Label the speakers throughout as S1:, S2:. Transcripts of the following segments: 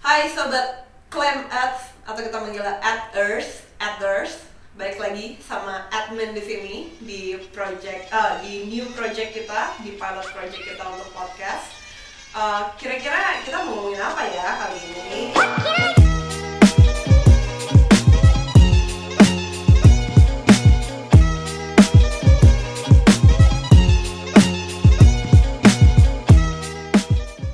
S1: Hai sobat Clam Ads atau kita manggilnya Aders, Aders. Balik lagi sama admin di sini di project eh, di new project kita, di pilot project kita untuk podcast. Eh, kira-kira kita mau ngomongin apa ya kali ini?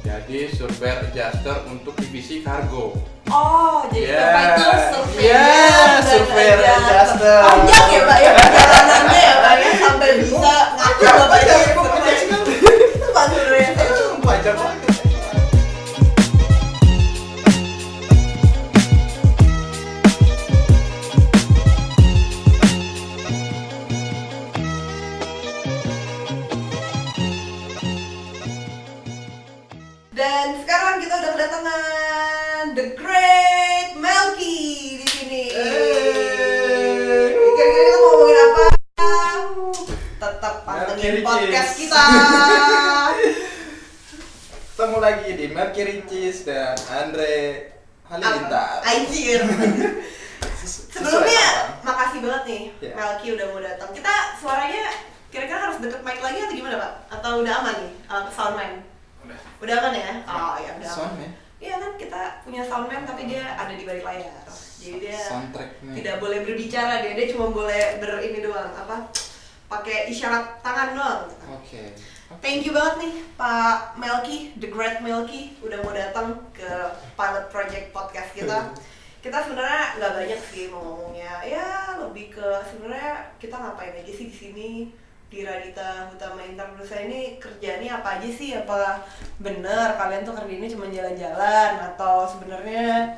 S2: Jadi survey adjuster untuk divisi kargo.
S1: Oh, jadi Bapak itu
S2: Yeah.
S1: surveyor
S2: Yeah,
S1: dan
S2: surveyor
S1: adjuster.
S2: adjuster.
S1: Panjang ya, Pak ya perjalanannya ya, Pak ya sampai bisa ngaku Bapak itu surveyor. Itu Pak Surya.
S2: Wajar banget.
S1: Dan sekarang kita udah kedatangan The Great Melky di sini.
S2: Yeay.
S1: Kira-kira kita mau ngomongin apa? Tetap pantengin
S2: Melky
S1: podcast
S2: Ricis.
S1: kita.
S2: Ketemu lagi di Mercury Cheese dan Andre Halilintar.
S1: Anjir.
S2: Sesu-
S1: Sebelumnya
S2: sesuai
S1: makasih banget nih
S2: Iya.
S1: Melky udah mau datang. Kita suaranya kira-kira harus deket mic lagi atau gimana Pak? Atau udah aman nih uh, soundman?
S2: Udah.
S1: Udah aman ya? Oh ya
S2: harapan.
S1: udah. aman.
S2: Sound ya?
S1: Iya kan kita punya soundman tapi dia ada di balik layar. Jadi dia
S2: Soundtrack nih.
S1: tidak boleh berbicara dia, dia cuma boleh ber ini doang apa? Pakai isyarat tangan doang.
S2: Oke.
S1: Thank you banget nih Pak Melki, The Great Melki udah mau datang ke pilot project podcast kita. Kita sebenarnya nggak banyak sih mau ngomongnya. Ya lebih ke sebenarnya kita ngapain aja sih di sini di Radita Utama Internusa ini kerjanya apa aja sih? Apa bener kalian tuh kerja ini cuma jalan-jalan atau sebenarnya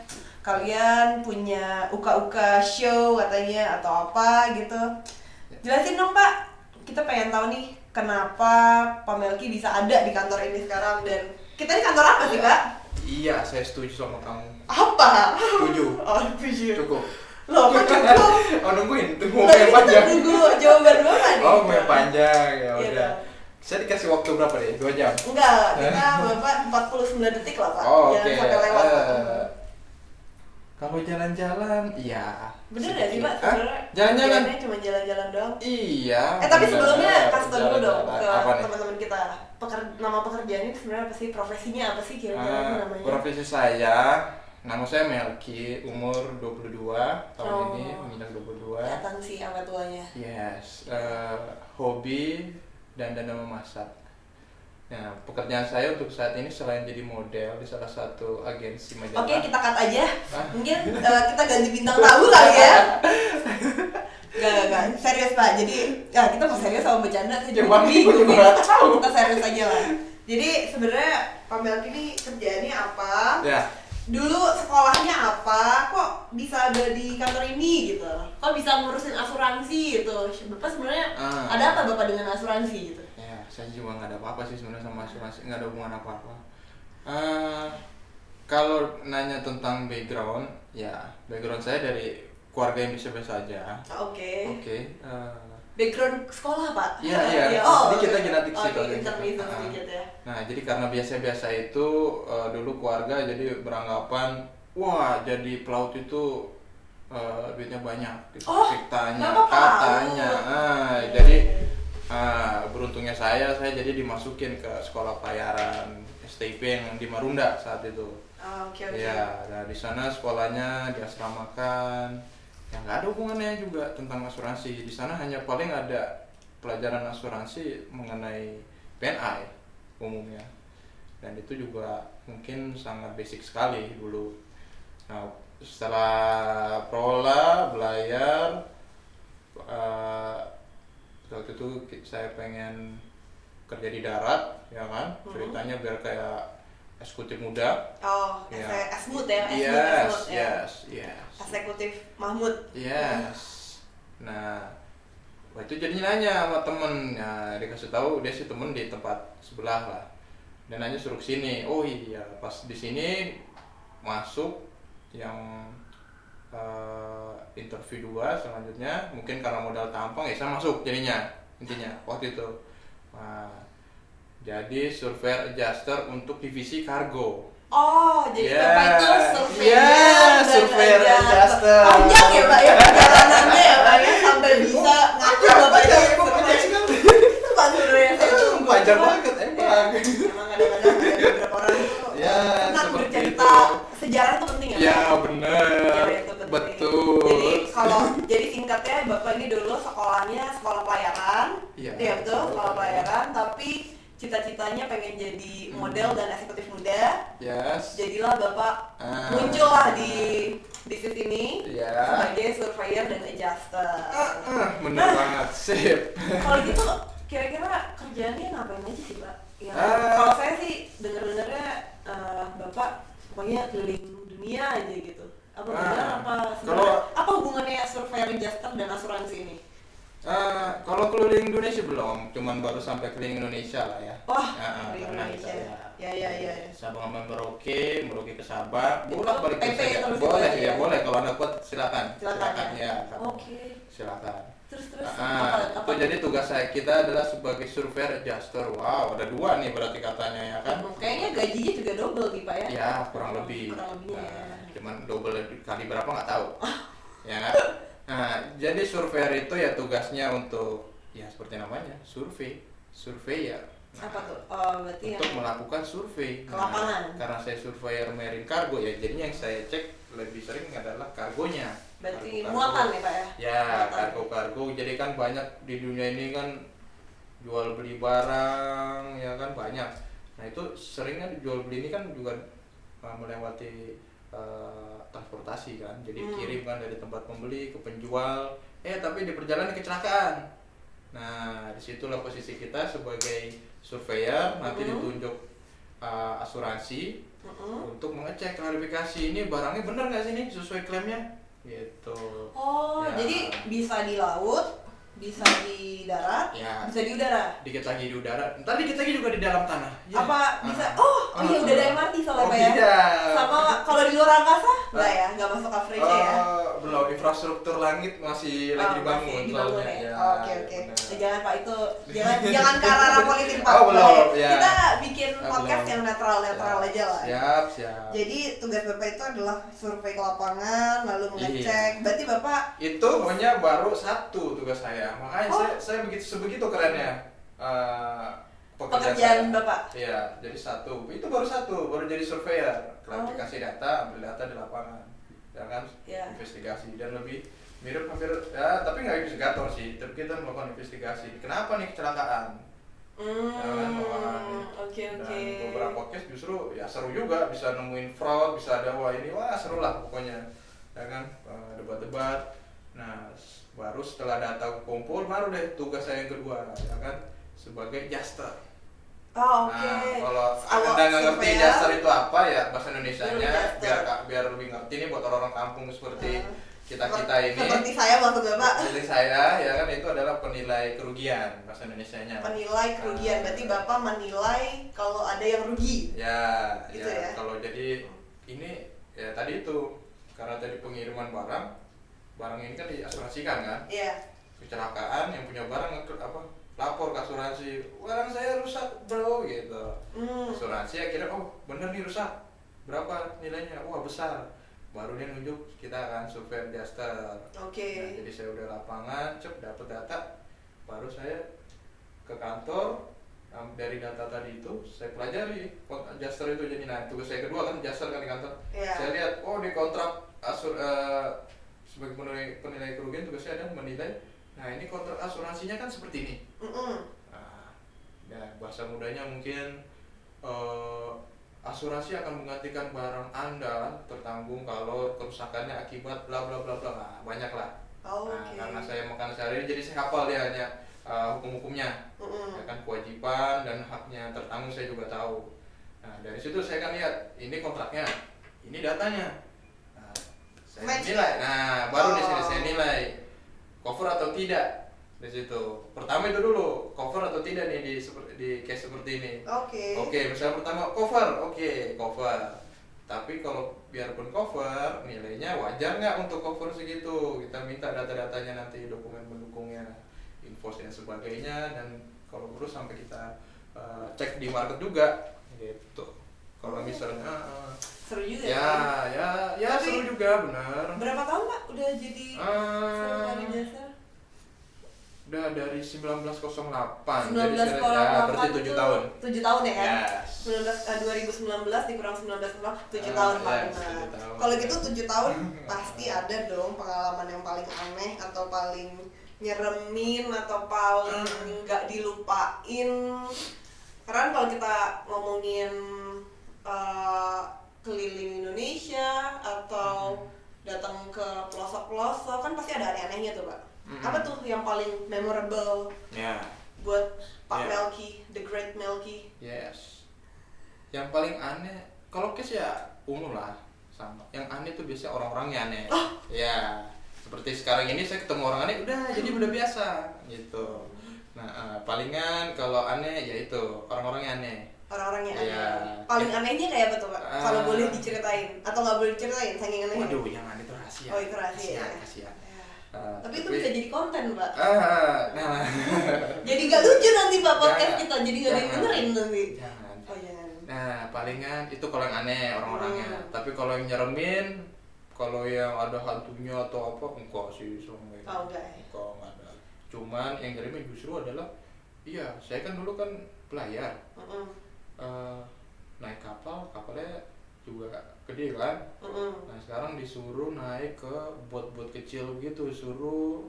S1: kalian punya uka-uka show katanya atau apa gitu? Jelasin dong Pak, kita pengen tahu nih kenapa Pak Melki bisa ada di kantor ini sekarang dan kita di kantor apa sih Pak?
S2: Iya, saya setuju sama kamu.
S1: Apa?
S2: Setuju.
S1: Oh, tujuh.
S2: Cukup.
S1: Loh, kok cukup?
S2: oh nungguin, tunggu
S1: Loh,
S2: yang
S1: ini kita
S2: panjang.
S1: tunggu jawaban Bapak nih.
S2: Oh, mau yang panjang
S1: Gitu.
S2: ya
S1: Iya,
S2: udah. Saya dikasih waktu berapa deh? Dua jam.
S1: Enggak, kita Bapak 49 detik lah Pak.
S2: Eh? Oh, oke.
S1: Jangan sampai lewat. Pak.
S2: Eh, kalau jalan-jalan, iya.
S1: Bener gak sih Pak?
S2: Sedikit. Hah?
S1: Sebenarnya
S2: Jalan-jalan.
S1: kerjaannya cuma jalan-jalan doang.
S2: Iya.
S1: Eh tapi
S2: bener. Iya,
S1: sebelumnya kasih tau dulu dong
S2: Jalan-jalan.
S1: ke
S2: Apa nih?
S1: teman-teman kita Peker- nama pekerjaannya sebenarnya apa sih profesinya apa sih kira-kira
S2: Ah,
S1: itu namanya?
S2: profesi saya, nama saya Melki, umur 22 tahun
S1: Oh.
S2: ini, menginjak 22.
S1: Kelihatan sih sama tuanya.
S2: Yes, eh, hobi dan dana memasak. Nah, pekerjaan saya untuk saat ini selain jadi model di salah satu agensi majalah.
S1: Oke, kita cut aja.
S2: Hah?
S1: Mungkin eh, kita ganti bintang tamu kali ya. Gak, gak, gak. Serius, Pak. Jadi, ya kita mau serius sama bercanda sih.
S2: Ya, Bang,
S1: Jadi,
S2: gua juga nggak tahu.
S1: Kita serius aja lah. Jadi, sebenarnya Pak Melki ini kerjaannya apa?
S2: Ya,
S1: Dulu sekolahnya apa? Kok bisa ada di kantor ini gitu? Kok bisa ngurusin asuransi gitu? Bapak sebenarnya
S2: Ah.
S1: ada apa Bapak dengan asuransi gitu?
S2: ya saya juga nggak ada apa-apa sih sebenarnya sama asuransi nggak ada hubungan apa-apa Eh, kalau nanya tentang background ya background saya dari keluarga yang biasa-biasa aja
S1: Oke.
S2: oke eh,
S1: Background sekolah, Pak?
S2: Iya, iya.
S1: Oh,
S2: Sedikit
S1: oke.
S2: lah genetik sih
S1: Oke,
S2: kalau genetik.
S1: intermezzo
S2: Ah.
S1: sedikit ya.
S2: nah jadi karena biasa-biasa itu eh, dulu keluarga jadi beranggapan wah jadi pelaut itu eh, duitnya banyak gitu.
S1: Oh,
S2: Ceritanya,
S1: kenapa pelaut? Iya,
S2: katanya Ah,
S1: Oke.
S2: jadi Ah, beruntungnya saya, saya jadi dimasukin ke sekolah pelayaran STIP yang di Marunda saat itu.
S1: Ah, Oke, oke.
S2: Ya, nah, di sana sekolahnya diasramakan. Ya nggak ada hubungannya juga tentang asuransi. Di sana hanya paling ada pelajaran asuransi mengenai PNI ya, umumnya. Dan itu juga mungkin sangat basic sekali dulu. Nah, setelah prola, belayar, eh, waktu itu ki- saya pengen kerja di darat, ya kan?
S1: Mhm.
S2: Ceritanya biar kayak eksekutif muda,
S1: Oh,
S2: Ya.
S1: yeah. Asmut ya, Asmut,
S2: Yes,
S1: Asmut, ya.
S2: yes, yes.
S1: Eksekutif Mahmud.
S2: Yes. Nah, waktu itu jadinya nanya sama temen, nah, dikasih tahu dia si temen di tempat sebelah lah. Dan nanya suruh sini. Oh iya, pas di sini masuk yang eh, interview dua selanjutnya mungkin karena modal tampang ya saya masuk jadinya intinya waktu itu. Nah, jadi surveyor adjuster untuk divisi kargo.
S1: Oh, jadi
S2: Yes,
S1: Bapak itu
S3: Adjuster,
S1: Iya.
S3: adjuster.
S1: Panjang ya Pak ya perjalanannya ya Pak ya sampai bisa ngaku
S3: Panjang,
S1: Bapak
S3: panjang,
S1: itu.
S3: emang panjang sekali.
S1: Itu Pak sebenarnya saya
S3: Itu
S1: tunggu.
S3: panjang banget, emang.
S1: Emang kadang-kadang ada beberapa orang itu
S3: Ya,
S1: senang
S2: seperti
S1: bercerita
S2: itu.
S1: sejarah tuh penting ya. Pak?
S2: Ya bener,
S1: Iya, itu penting.
S2: betul.
S1: Jadi kalau jadi singkatnya Bapak ini dulu sekolahnya sekolah pelayaran.
S2: Iya.
S1: betul, sekolah pelayaran tapi cita-citanya pengen jadi
S2: Hmm.
S1: model dan eksekutif muda.
S2: Yes.
S1: Jadilah Bapak
S2: Ah.
S1: muncullah di bisnis ini
S2: Iya.
S1: sebagai surveyor dan adjuster.
S2: Ah, ah, bener banget, sip.
S1: Kalau gitu kira-kira kerjaannya ngapain aja sih, Pak? Ya,
S2: Ah.
S1: kalau saya sih dengar-dengarnya eh, Bapak pokoknya keliling dunia aja gitu. Apa
S2: Ah.
S1: benar apa sebenarnya
S2: Kalau-
S1: apa hubungannya surveyor adjuster dan asuransi ini?
S2: Eh, kalau keliling Indonesia belum, cuman baru sampai keliling Indonesia lah ya.
S1: Wah,
S2: Ah, ah,
S1: keliling
S2: pernah
S1: Indonesia.
S2: kita,
S1: Ya, ya, ya, ya.
S2: Sabang sama Merauke, Merauke ke Sabang, bolak balik
S1: PP
S2: saja.
S1: terus
S2: Boleh
S1: itu ya.
S2: ya, boleh kalau anda kuat silakan.
S1: Silakan
S2: ya.
S1: ya.
S2: silakan.
S1: Oke.
S2: Silakan.
S1: Terus terus
S2: Ah, itu jadi tugas saya kita adalah sebagai surveyor adjuster. Wow, ada dua nih berarti katanya ya kan?
S1: Oh, Kayaknya gajinya juga double nih, Pak ya?
S2: Ya kurang lebih.
S1: Kurang lebihnya ya.
S2: Nah, cuman double kali berapa nggak tahu. ya. kan? Nah, jadi surveyor itu ya tugasnya untuk ya seperti namanya survei, surveyor. Nah,
S1: Apa tuh? Oh, berarti yang
S2: Untuk melakukan survei. Nah,
S1: Ke lapangan.
S2: karena saya surveyor marine cargo ya, jadinya yang saya cek lebih sering adalah kargonya.
S1: berarti
S2: Kargo-kargo.
S1: muatan ya, Pak ya?
S2: Ya,
S1: Muatan.
S2: kargo-kargo. Jadi kan banyak di dunia ini kan jual beli barang, ya kan banyak. Nah itu seringnya jual beli ini kan juga uh, melewati uh, transportasi kan. Jadi
S1: Hmm.
S2: kirim kan dari tempat pembeli ke penjual. Eh tapi di perjalanan kecelakaan. Nah disitulah posisi kita sebagai surveyor. Nanti
S1: Mhm.
S2: ditunjuk uh, asuransi
S1: Mm-mm.
S2: untuk mengecek klarifikasi ini barangnya benar nggak sih ini sesuai klaimnya gitu.
S1: Oh,
S2: Ya.
S1: jadi bisa di laut, bisa di darat,
S2: Ya.
S1: bisa di udara.
S2: dikit lagi di udara ntar dikit lagi juga di dalam tanah Ya.
S1: Apa bisa?
S2: Ah.
S1: Oh, oh iya
S2: Ah.
S1: udah ada MRT soalnya
S2: Oh, Ah.
S1: Pak ya.
S2: tidak.
S1: Sama kalau di luar angkasa enggak ya, enggak masuk coverage ya.
S2: Eh, belum infrastruktur langit masih
S1: Oh,
S2: iya, lagi
S1: masih
S2: dibangun
S1: dibangun
S2: soalnya.
S1: ya.
S2: Ya,
S1: Oke oke.
S2: benar.
S1: Jangan Pak itu jangan jangan ke arah politik Pak.
S2: Oh, belum,
S1: Baik.
S2: ya.
S1: Kita bikin
S2: Ah,
S1: podcast
S2: belum. Ya.
S1: yang netral-netral
S2: Siap,
S1: aja lah.
S2: siap siap
S1: Jadi tugas Bapak itu adalah survei ke lapangan, lalu
S2: Iya.
S1: mengecek. Berarti Bapak
S2: itu hanya baru satu tugas saya makanya
S1: Oh.
S2: saya saya begitu sebegitu kerennya eh,
S1: Pekerjaan
S2: saya.
S1: Bapak?
S2: iya jadi satu itu baru satu baru jadi surveyor klarifikasi data ambil data di lapangan ya kan
S1: Oh. Iya.
S2: investigasi dan lebih mirip hampir ya tapi nggak investigator sih tapi kita melakukan investigasi kenapa nih kecelakaan Ya kan,
S1: Hmm,
S2: makanya.
S1: Oke oke.
S2: Dan beberapa case justru ya seru juga bisa nemuin fraud, bisa ada wah ini wah seru lah pokoknya. Ya kan eh, debat-debat. Nah, s- baru setelah data kumpul baru deh tugas saya yang kedua ya kan sebagai jaster.
S1: Oh, oke.
S2: Nah, kalau
S1: Awal
S2: Anda nggak ngerti
S1: surveyor.
S2: jaster itu apa ya bahasa Indonesianya
S1: Dulu jaster.
S2: biar ka- biar lebih ngerti nih buat orang-orang kampung seperti
S1: Hmm.
S2: kita-kita ini.
S1: Seperti saya maksud Bapak.
S2: Jadi saya ya kan itu adalah penilai kerugian bahasa Indonesianya.
S1: Penilai kerugian, berarti
S2: Iya. Nah,
S1: Bapak menilai kalau ada yang rugi.
S2: ya,
S1: Gitu ya.
S2: ya, kalau jadi ini ya tadi itu karena tadi pengiriman barang barang ini kan diasuransikan kan
S1: Iya.
S2: kecelakaan yang punya barang ngeke- apa lapor ke asuransi barang saya rusak bro gitu
S1: Hmm.
S2: asuransi akhirnya oh bener nih rusak berapa nilainya wah besar baru dia nunjuk kita akan survei adjuster
S1: Oke.
S2: Nah, jadi saya udah lapangan cep dapat data baru saya ke kantor em, dari data tadi itu saya pelajari kon- adjuster itu jadi nah tugas saya kedua kan adjuster kan di kantor
S1: Iya.
S2: saya lihat oh di kontrak asur eh, sebagai penilai, penilai kerugian tugasnya ada menilai nah ini kontrak asuransinya kan seperti ini
S1: Mm-mm.
S2: Nah, ya, bahasa mudanya mungkin eh, asuransi akan menggantikan barang Anda tertanggung kalau kerusakannya akibat bla bla bla bla. Nah, banyak lah.
S1: Oh,
S2: Nah,
S1: Oke.
S2: karena saya makan sehari jadi saya hafal ya hanya eh, hukum-hukumnya.
S1: Mm-mm.
S2: Ya kan kewajiban dan haknya tertanggung saya juga tahu. Nah, dari situ saya akan lihat ini kontraknya, ini datanya. Nah, saya
S1: Match.
S2: nilai. Nah, baru di sini
S1: Oh.
S2: saya nilai cover atau tidak di situ. Pertama itu dulu, cover atau tidak nih di seper- di case seperti ini.
S1: Oke.
S2: Ya, kan? Oke, misalnya pertama cover, oke cover. Tapi kalau biarpun cover, nilainya wajar nggak untuk cover segitu? Kita minta data-datanya nanti, dokumen pendukungnya, info dan sebagainya, dan kalau perlu sampai kita eh, cek di market juga, gitu. Kalau misalnya, eh,
S1: Seru juga.
S2: ya, ya, ya
S1: Iya. Tapi-
S2: seru juga. Iya benar.
S1: Berapa tahun Pak udah jadi
S2: Ah.
S1: sekretaris
S2: Eh,
S1: dasar?
S2: udah dari 1908.
S1: 19
S2: jadi
S1: kurang
S2: ya, berarti
S1: 8
S2: 7
S1: itu
S2: tahun.
S1: 7 tahun ya kan?
S2: Yes.
S1: 19, eh, 2019 dikurang 19 kurang 7
S2: Ah,
S1: tahun
S2: yes,
S1: paling
S2: tujuh
S1: benar.
S2: tahun.
S1: Kalau gitu 7 tahun pasti ada dong pengalaman yang paling aneh atau paling nyeremin atau paling
S2: Hmm.
S1: nggak dilupain. Karena kalau kita ngomongin eh, keliling Indonesia atau
S2: Hmm.
S1: datang ke pelosok-pelosok kan pasti ada aneh-anehnya tuh, Pak.
S2: Mm-mm.
S1: Apa tuh yang paling memorable
S2: Ya.
S1: buat Pak
S2: Iya.
S1: Melki, the great Melki.
S2: Yes. Yang paling aneh kalau kes ya umum lah sama. Yang aneh tuh biasanya orang-orangnya aneh.
S1: Oh.
S2: Ya. Seperti sekarang ini saya ketemu orang aneh udah jadi udah biasa gitu. Nah, eh, palingan kalau aneh ya itu orang-orangnya aneh.
S1: Orang-orangnya aneh.
S2: Iya.
S1: Paling anehnya kayak apa tuh, Pak?
S2: Ah.
S1: Kalau boleh diceritain atau nggak boleh diceritain saking anehnya.
S2: Waduh, yang aneh itu rahasia.
S1: Iya. Oh, itu rahasia,
S2: Kasihan,
S1: ya.
S2: kasihan.
S1: Ya.
S2: Eh,
S1: Tapi itu bisa jadi konten, Pak.
S2: Ah, nah.
S1: Jadi nggak lucu nanti Pak podcast
S2: Jangan.
S1: kita, jadi nggak ada yang
S2: Jangan.
S1: dengerin nanti.
S2: Jangan.
S1: Oh jangan.
S2: Nah, palingan itu kalau yang aneh orang-orangnya.
S1: Hmm.
S2: Tapi kalau yang nyeremin, kalau yang ada hantunya atau apa, enggak sih selama ini.
S1: Oh, enggak ya?
S2: Enggak, enggak ada. Cuman yang nyeremin justru adalah, iya, saya kan dulu kan pelayar.
S1: Mm-mm.
S2: Eh, naik kapal, kapalnya juga gede kan.
S1: Mm-mm.
S2: Nah sekarang disuruh naik ke buat-buat kecil gitu, suruh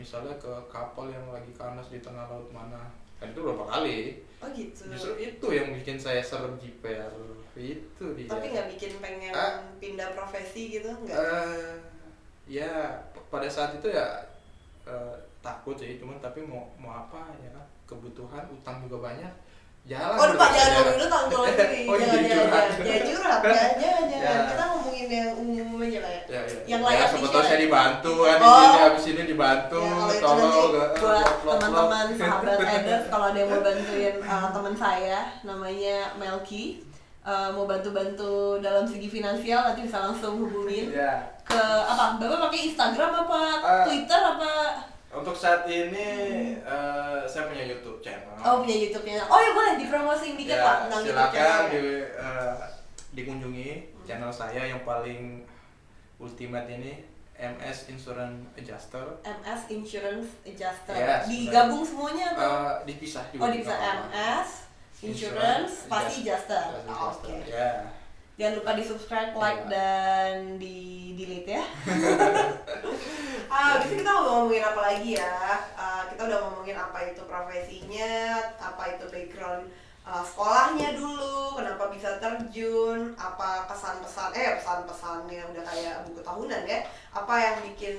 S2: misalnya ke kapal yang lagi kanas di tengah laut mana. Dan itu berapa kali?
S1: Oh gitu.
S2: Justru itu yang bikin saya serem jiper. Itu dia.
S1: Tapi nggak bikin pengen
S2: Ah.
S1: pindah profesi gitu, nggak?
S2: Eh, ya p- pada saat itu ya eh, takut sih, cuman tapi mau mau apa ya kan? Kebutuhan utang juga banyak.
S1: Oh,
S2: Jalan.
S1: Pak, jangan
S2: terus aja.
S1: ngomongin dulu tanggul sini.
S2: ah, Oh, iya,
S1: jangan, jangan,
S2: curhat.
S1: jangan, jangan curhat, jangan, jangan,
S2: Ya.
S1: jangan. Kita ngomongin yang umum aja lah ya.
S2: Ya, ya.
S1: Yang
S2: ya,
S1: layak
S2: siapa
S1: tinggi
S2: tahu
S1: lah.
S2: saya dibantu kan di
S1: Oh.
S2: sini habis ini dibantu
S1: Ya, kalau itu
S2: tolong
S1: nanti
S2: eh,
S1: buat
S2: vlog, vlog, vlog.
S1: teman-teman sahabat Eders kalau ada yang mau bantuin uh, teman saya namanya Melki uh, mau bantu-bantu dalam segi finansial nanti bisa langsung hubungin
S2: Ya.
S1: ke apa bapak pakai Instagram apa
S2: Eh,
S1: Twitter apa
S2: Untuk saat ini eh, saya punya YouTube channel.
S1: Hmm. oh punya YouTube-nya oh ya boleh dipromosin dikit pak
S2: ya,
S1: tentang YouTube
S2: silakan
S1: channel
S2: di, eh, dikunjungi channel saya yang paling ultimate ini MS Insurance Adjuster.
S1: MS Insurance Adjuster
S2: Yes,
S1: digabung semuanya atau
S2: Eh, dipisah juga.
S1: oh bisa
S2: nggak apa-apa.
S1: MS Insurance pasti Adjuster
S2: Adjuster,
S1: Oh, oke
S2: adjuster, Ya.
S1: Jangan lupa di subscribe, like,
S2: Iya.
S1: dan di delete ya. ah, bisa kita ngomongin apa lagi ya? Ah, kita udah ngomongin apa itu profesinya, apa itu background ah, sekolahnya dulu, kenapa bisa terjun, apa kesan-pesan, eh pesan-pesannya udah kayak buku tahunan ya. Apa yang bikin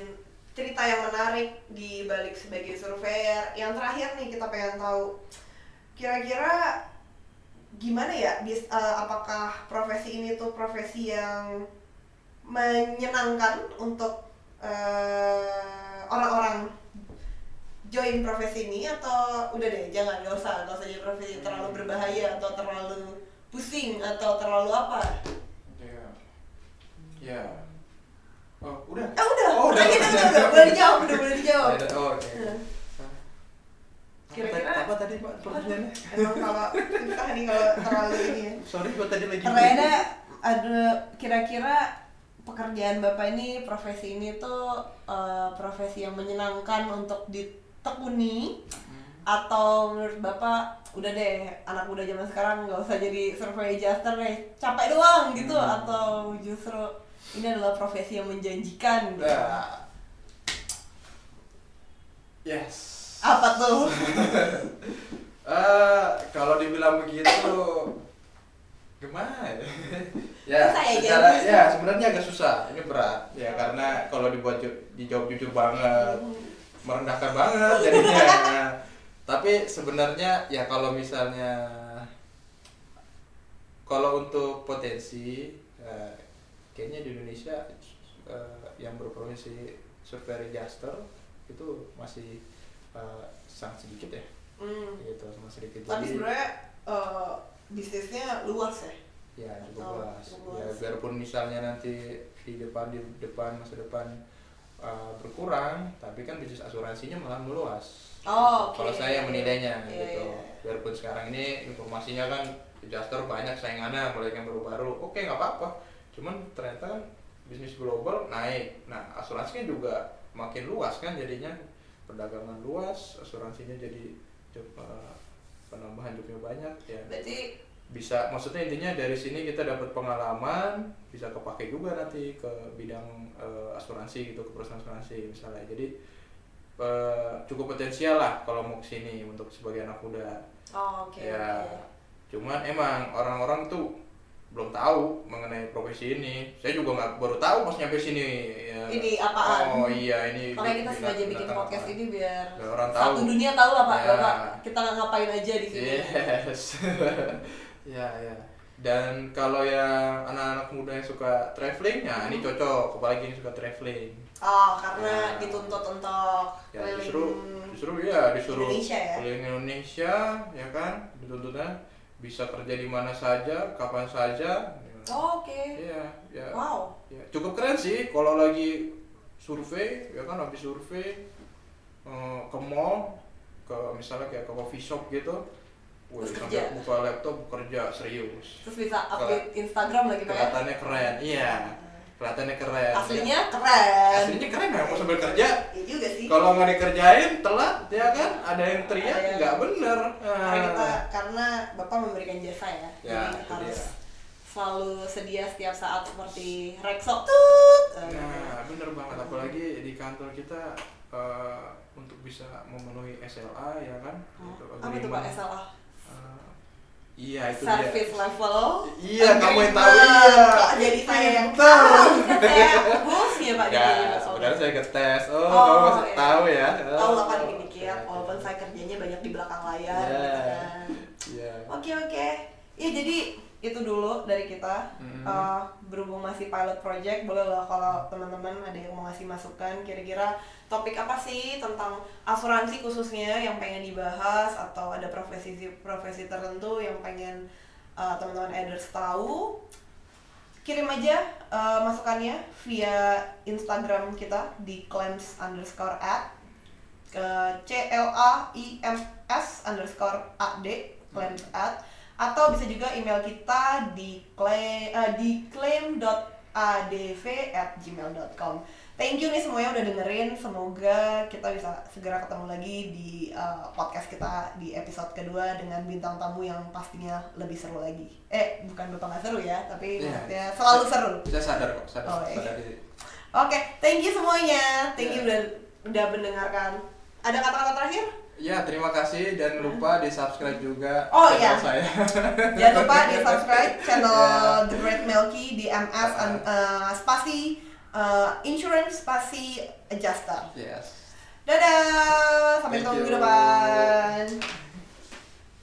S1: cerita yang menarik di balik sebagai surveyor? Yang terakhir nih kita pengen tahu kira-kira gimana ya bis- eh, apakah profesi ini tuh profesi yang menyenangkan untuk eh, orang-orang join profesi ini atau udah deh jangan gak usah gak usah jadi profesi terlalu
S2: Hmm.
S1: berbahaya atau terlalu pusing atau terlalu apa
S2: Ya. Ya. Oh, udah.
S1: eh udah
S2: Oh, udah,
S1: Pertanyaan
S2: udah.
S1: udah, udah, boleh dijawab udah boleh dijawab
S2: Ada- Oh, oke.
S1: Hmm.
S2: Apa,
S1: Kira-kira-
S2: apa tadi Pak pertanyaannya?
S1: emang kalau susah nih kalau terlalu ini ya
S2: Sorry gua tadi lagi.
S1: Rena ada kira-kira pekerjaan bapak ini profesi ini tuh eh, profesi yang menyenangkan untuk ditekuni
S2: Hmm.
S1: atau menurut bapak udah deh anak muda zaman sekarang nggak usah jadi survey adjuster deh capek doang gitu
S2: Hmm.
S1: atau justru ini adalah profesi yang menjanjikan gitu.
S2: Nah. Yes.
S1: apa tuh
S2: Eh, kalau dibilang begitu gimana ya? ya
S1: Susah ya,
S2: secara
S1: jadi.
S2: ya sebenarnya agak susah ini berat ya karena kalau dibuat ju- dijawab jujur banget
S1: Hmm.
S2: merendahkan banget jadinya Nah, tapi sebenarnya ya kalau misalnya kalau untuk potensi eh, kayaknya di Indonesia eh, yang berprofesi survei adjuster itu masih eh, sangat sedikit ya
S1: Hmm.
S2: gitu sama sedikit
S1: tapi
S2: Jadi,
S1: sebenarnya eh, bisnisnya luas ya
S2: ya cukup
S1: Oh,
S2: luas
S1: cukup
S2: ya
S1: luas.
S2: biarpun misalnya nanti di depan di depan masa depan uh, berkurang tapi kan bisnis asuransinya malah meluas
S1: Oh, oke.
S2: kalau saya yang menilainya
S1: Iya,
S2: gitu
S1: iya.
S2: biarpun sekarang ini informasinya kan adjuster banyak saingannya mulai yang baru-baru oke nggak apa-apa cuman ternyata kan bisnis global naik nah asuransi kan juga makin luas kan jadinya perdagangan luas asuransinya jadi coba penambahan jobnya banyak ya
S1: Berarti
S2: bisa maksudnya intinya dari sini kita dapat pengalaman bisa kepake juga nanti ke bidang eh, asuransi gitu ke perusahaan asuransi misalnya jadi eh, cukup potensial lah kalau mau kesini untuk sebagai anak muda
S1: oh, oke.
S2: ya
S1: oke.
S2: cuman emang orang-orang tuh belum tahu mengenai profesi ini saya juga nggak baru tahu pas nyampe sini ya.
S1: Ini apaan?
S2: oh iya ini
S1: Makanya kita
S2: binat-
S1: sengaja bikin
S2: binatang
S1: podcast
S2: apaan.
S1: ini biar
S2: Biar orang tahu.
S1: satu dunia tahu lah Pak,
S2: Ya. Iya.
S1: Bapak. Kita ngapain aja di sini.
S2: Yes. ya ya. Dan kalau yang anak-anak muda yang suka traveling, ya
S1: Hmm.
S2: ini cocok. Apalagi yang suka traveling.
S1: Oh, karena
S2: Ya.
S1: dituntut untuk
S2: Ya
S1: keliling
S2: disuruh, disuruh ya disuruh
S1: Indonesia ya?
S2: keliling Indonesia, ya kan? Dituntutnya bisa kerja di mana saja, kapan saja.
S1: Oh, oke.
S2: Iya, ya.
S1: Wow.
S2: Ya, cukup keren sih kalau lagi survei ya kan habis survei eh, ke mall ke misalnya kayak ke coffee shop gitu Wih,
S1: Terus kerja.
S2: sampai buka laptop bekerja serius
S1: Terus bisa update Instagram lagi Pak ya. Hmm.
S2: kelihatannya keren iya kelihatannya keren
S1: Aslinya
S2: Ya,
S1: keren.
S2: aslinya keren ya mau sambil kerja
S1: Iya juga sih.
S2: kalau nggak dikerjain telat ya kan ada yang
S1: Ada
S2: teriak
S1: yang-
S2: nggak bener
S1: karena kita
S2: Ah.
S1: karena bapak memberikan jasa ya,
S2: Ya,
S1: jadi
S2: itu
S1: harus
S2: dia.
S1: selalu sedia setiap saat seperti Rexo tut. Eh,
S2: Nah, bener banget. Apalagi di kantor kita eh, untuk bisa memenuhi SLA ya kan? Gitu,
S1: Ah. apa itu pak
S2: agreement.
S1: SLA?
S2: Eh, iya itu
S1: Service
S2: dia.
S1: level.
S2: Iya, kamu yang tahu.
S1: Agreement.
S2: Iya.
S1: Kok jadi saya yang
S2: tahu.
S1: saya bos ya pak.
S2: Ya,
S1: jadi, Pak.
S2: sebenarnya saya ngetes. Oh,
S1: Oh,
S2: kamu masih
S1: iya.
S2: tahu ya?
S1: tahu lah kan
S2: Oh,
S1: dikit-dikit,
S2: oke.
S1: walaupun saya kerjanya banyak di belakang layar.
S2: Iya.
S1: gitu kan.
S2: Iya.
S1: Oke oke. Ya jadi itu dulu dari kita
S2: Mhm.
S1: Eh, berhubung masih pilot project boleh lah kalau teman-teman ada yang mau ngasih masukan kira-kira topik apa sih tentang asuransi khususnya yang pengen dibahas atau ada profesi profesi tertentu yang pengen eh, teman-teman elders tahu kirim aja eh, masukannya via Instagram kita di claims underscore at ke c l a i m s underscore a d claims
S2: Hmm.
S1: at atau bisa juga email kita di claim eh, di claim.adv@gmail.com. Thank you nih semuanya udah dengerin. Semoga kita bisa segera ketemu lagi di eh, podcast kita di episode kedua dengan bintang tamu yang pastinya lebih seru lagi. Eh, bukan bapak nggak seru ya, tapi
S2: Iya.
S1: maksudnya selalu seru.
S2: Saya sadar kok, sadar,
S1: Oh, iya.
S2: sadar diri.
S1: Oke, thank you semuanya. Thank you
S2: Iya.
S1: udah udah mendengarkan. Ada kata-kata terakhir?
S2: Ya, terima kasih. Jangan lupa di-subscribe juga
S1: Iya. Oh, iya.
S2: channel saya.
S1: Jangan lupa Iya. di subscribe channel
S2: Ya.
S1: The Great Melky di MS an- eh, spasi eh, insurance spasi adjuster.
S2: yes.
S1: Dadah, sampai
S2: Thank
S1: ketemu minggu
S2: you.
S1: depan.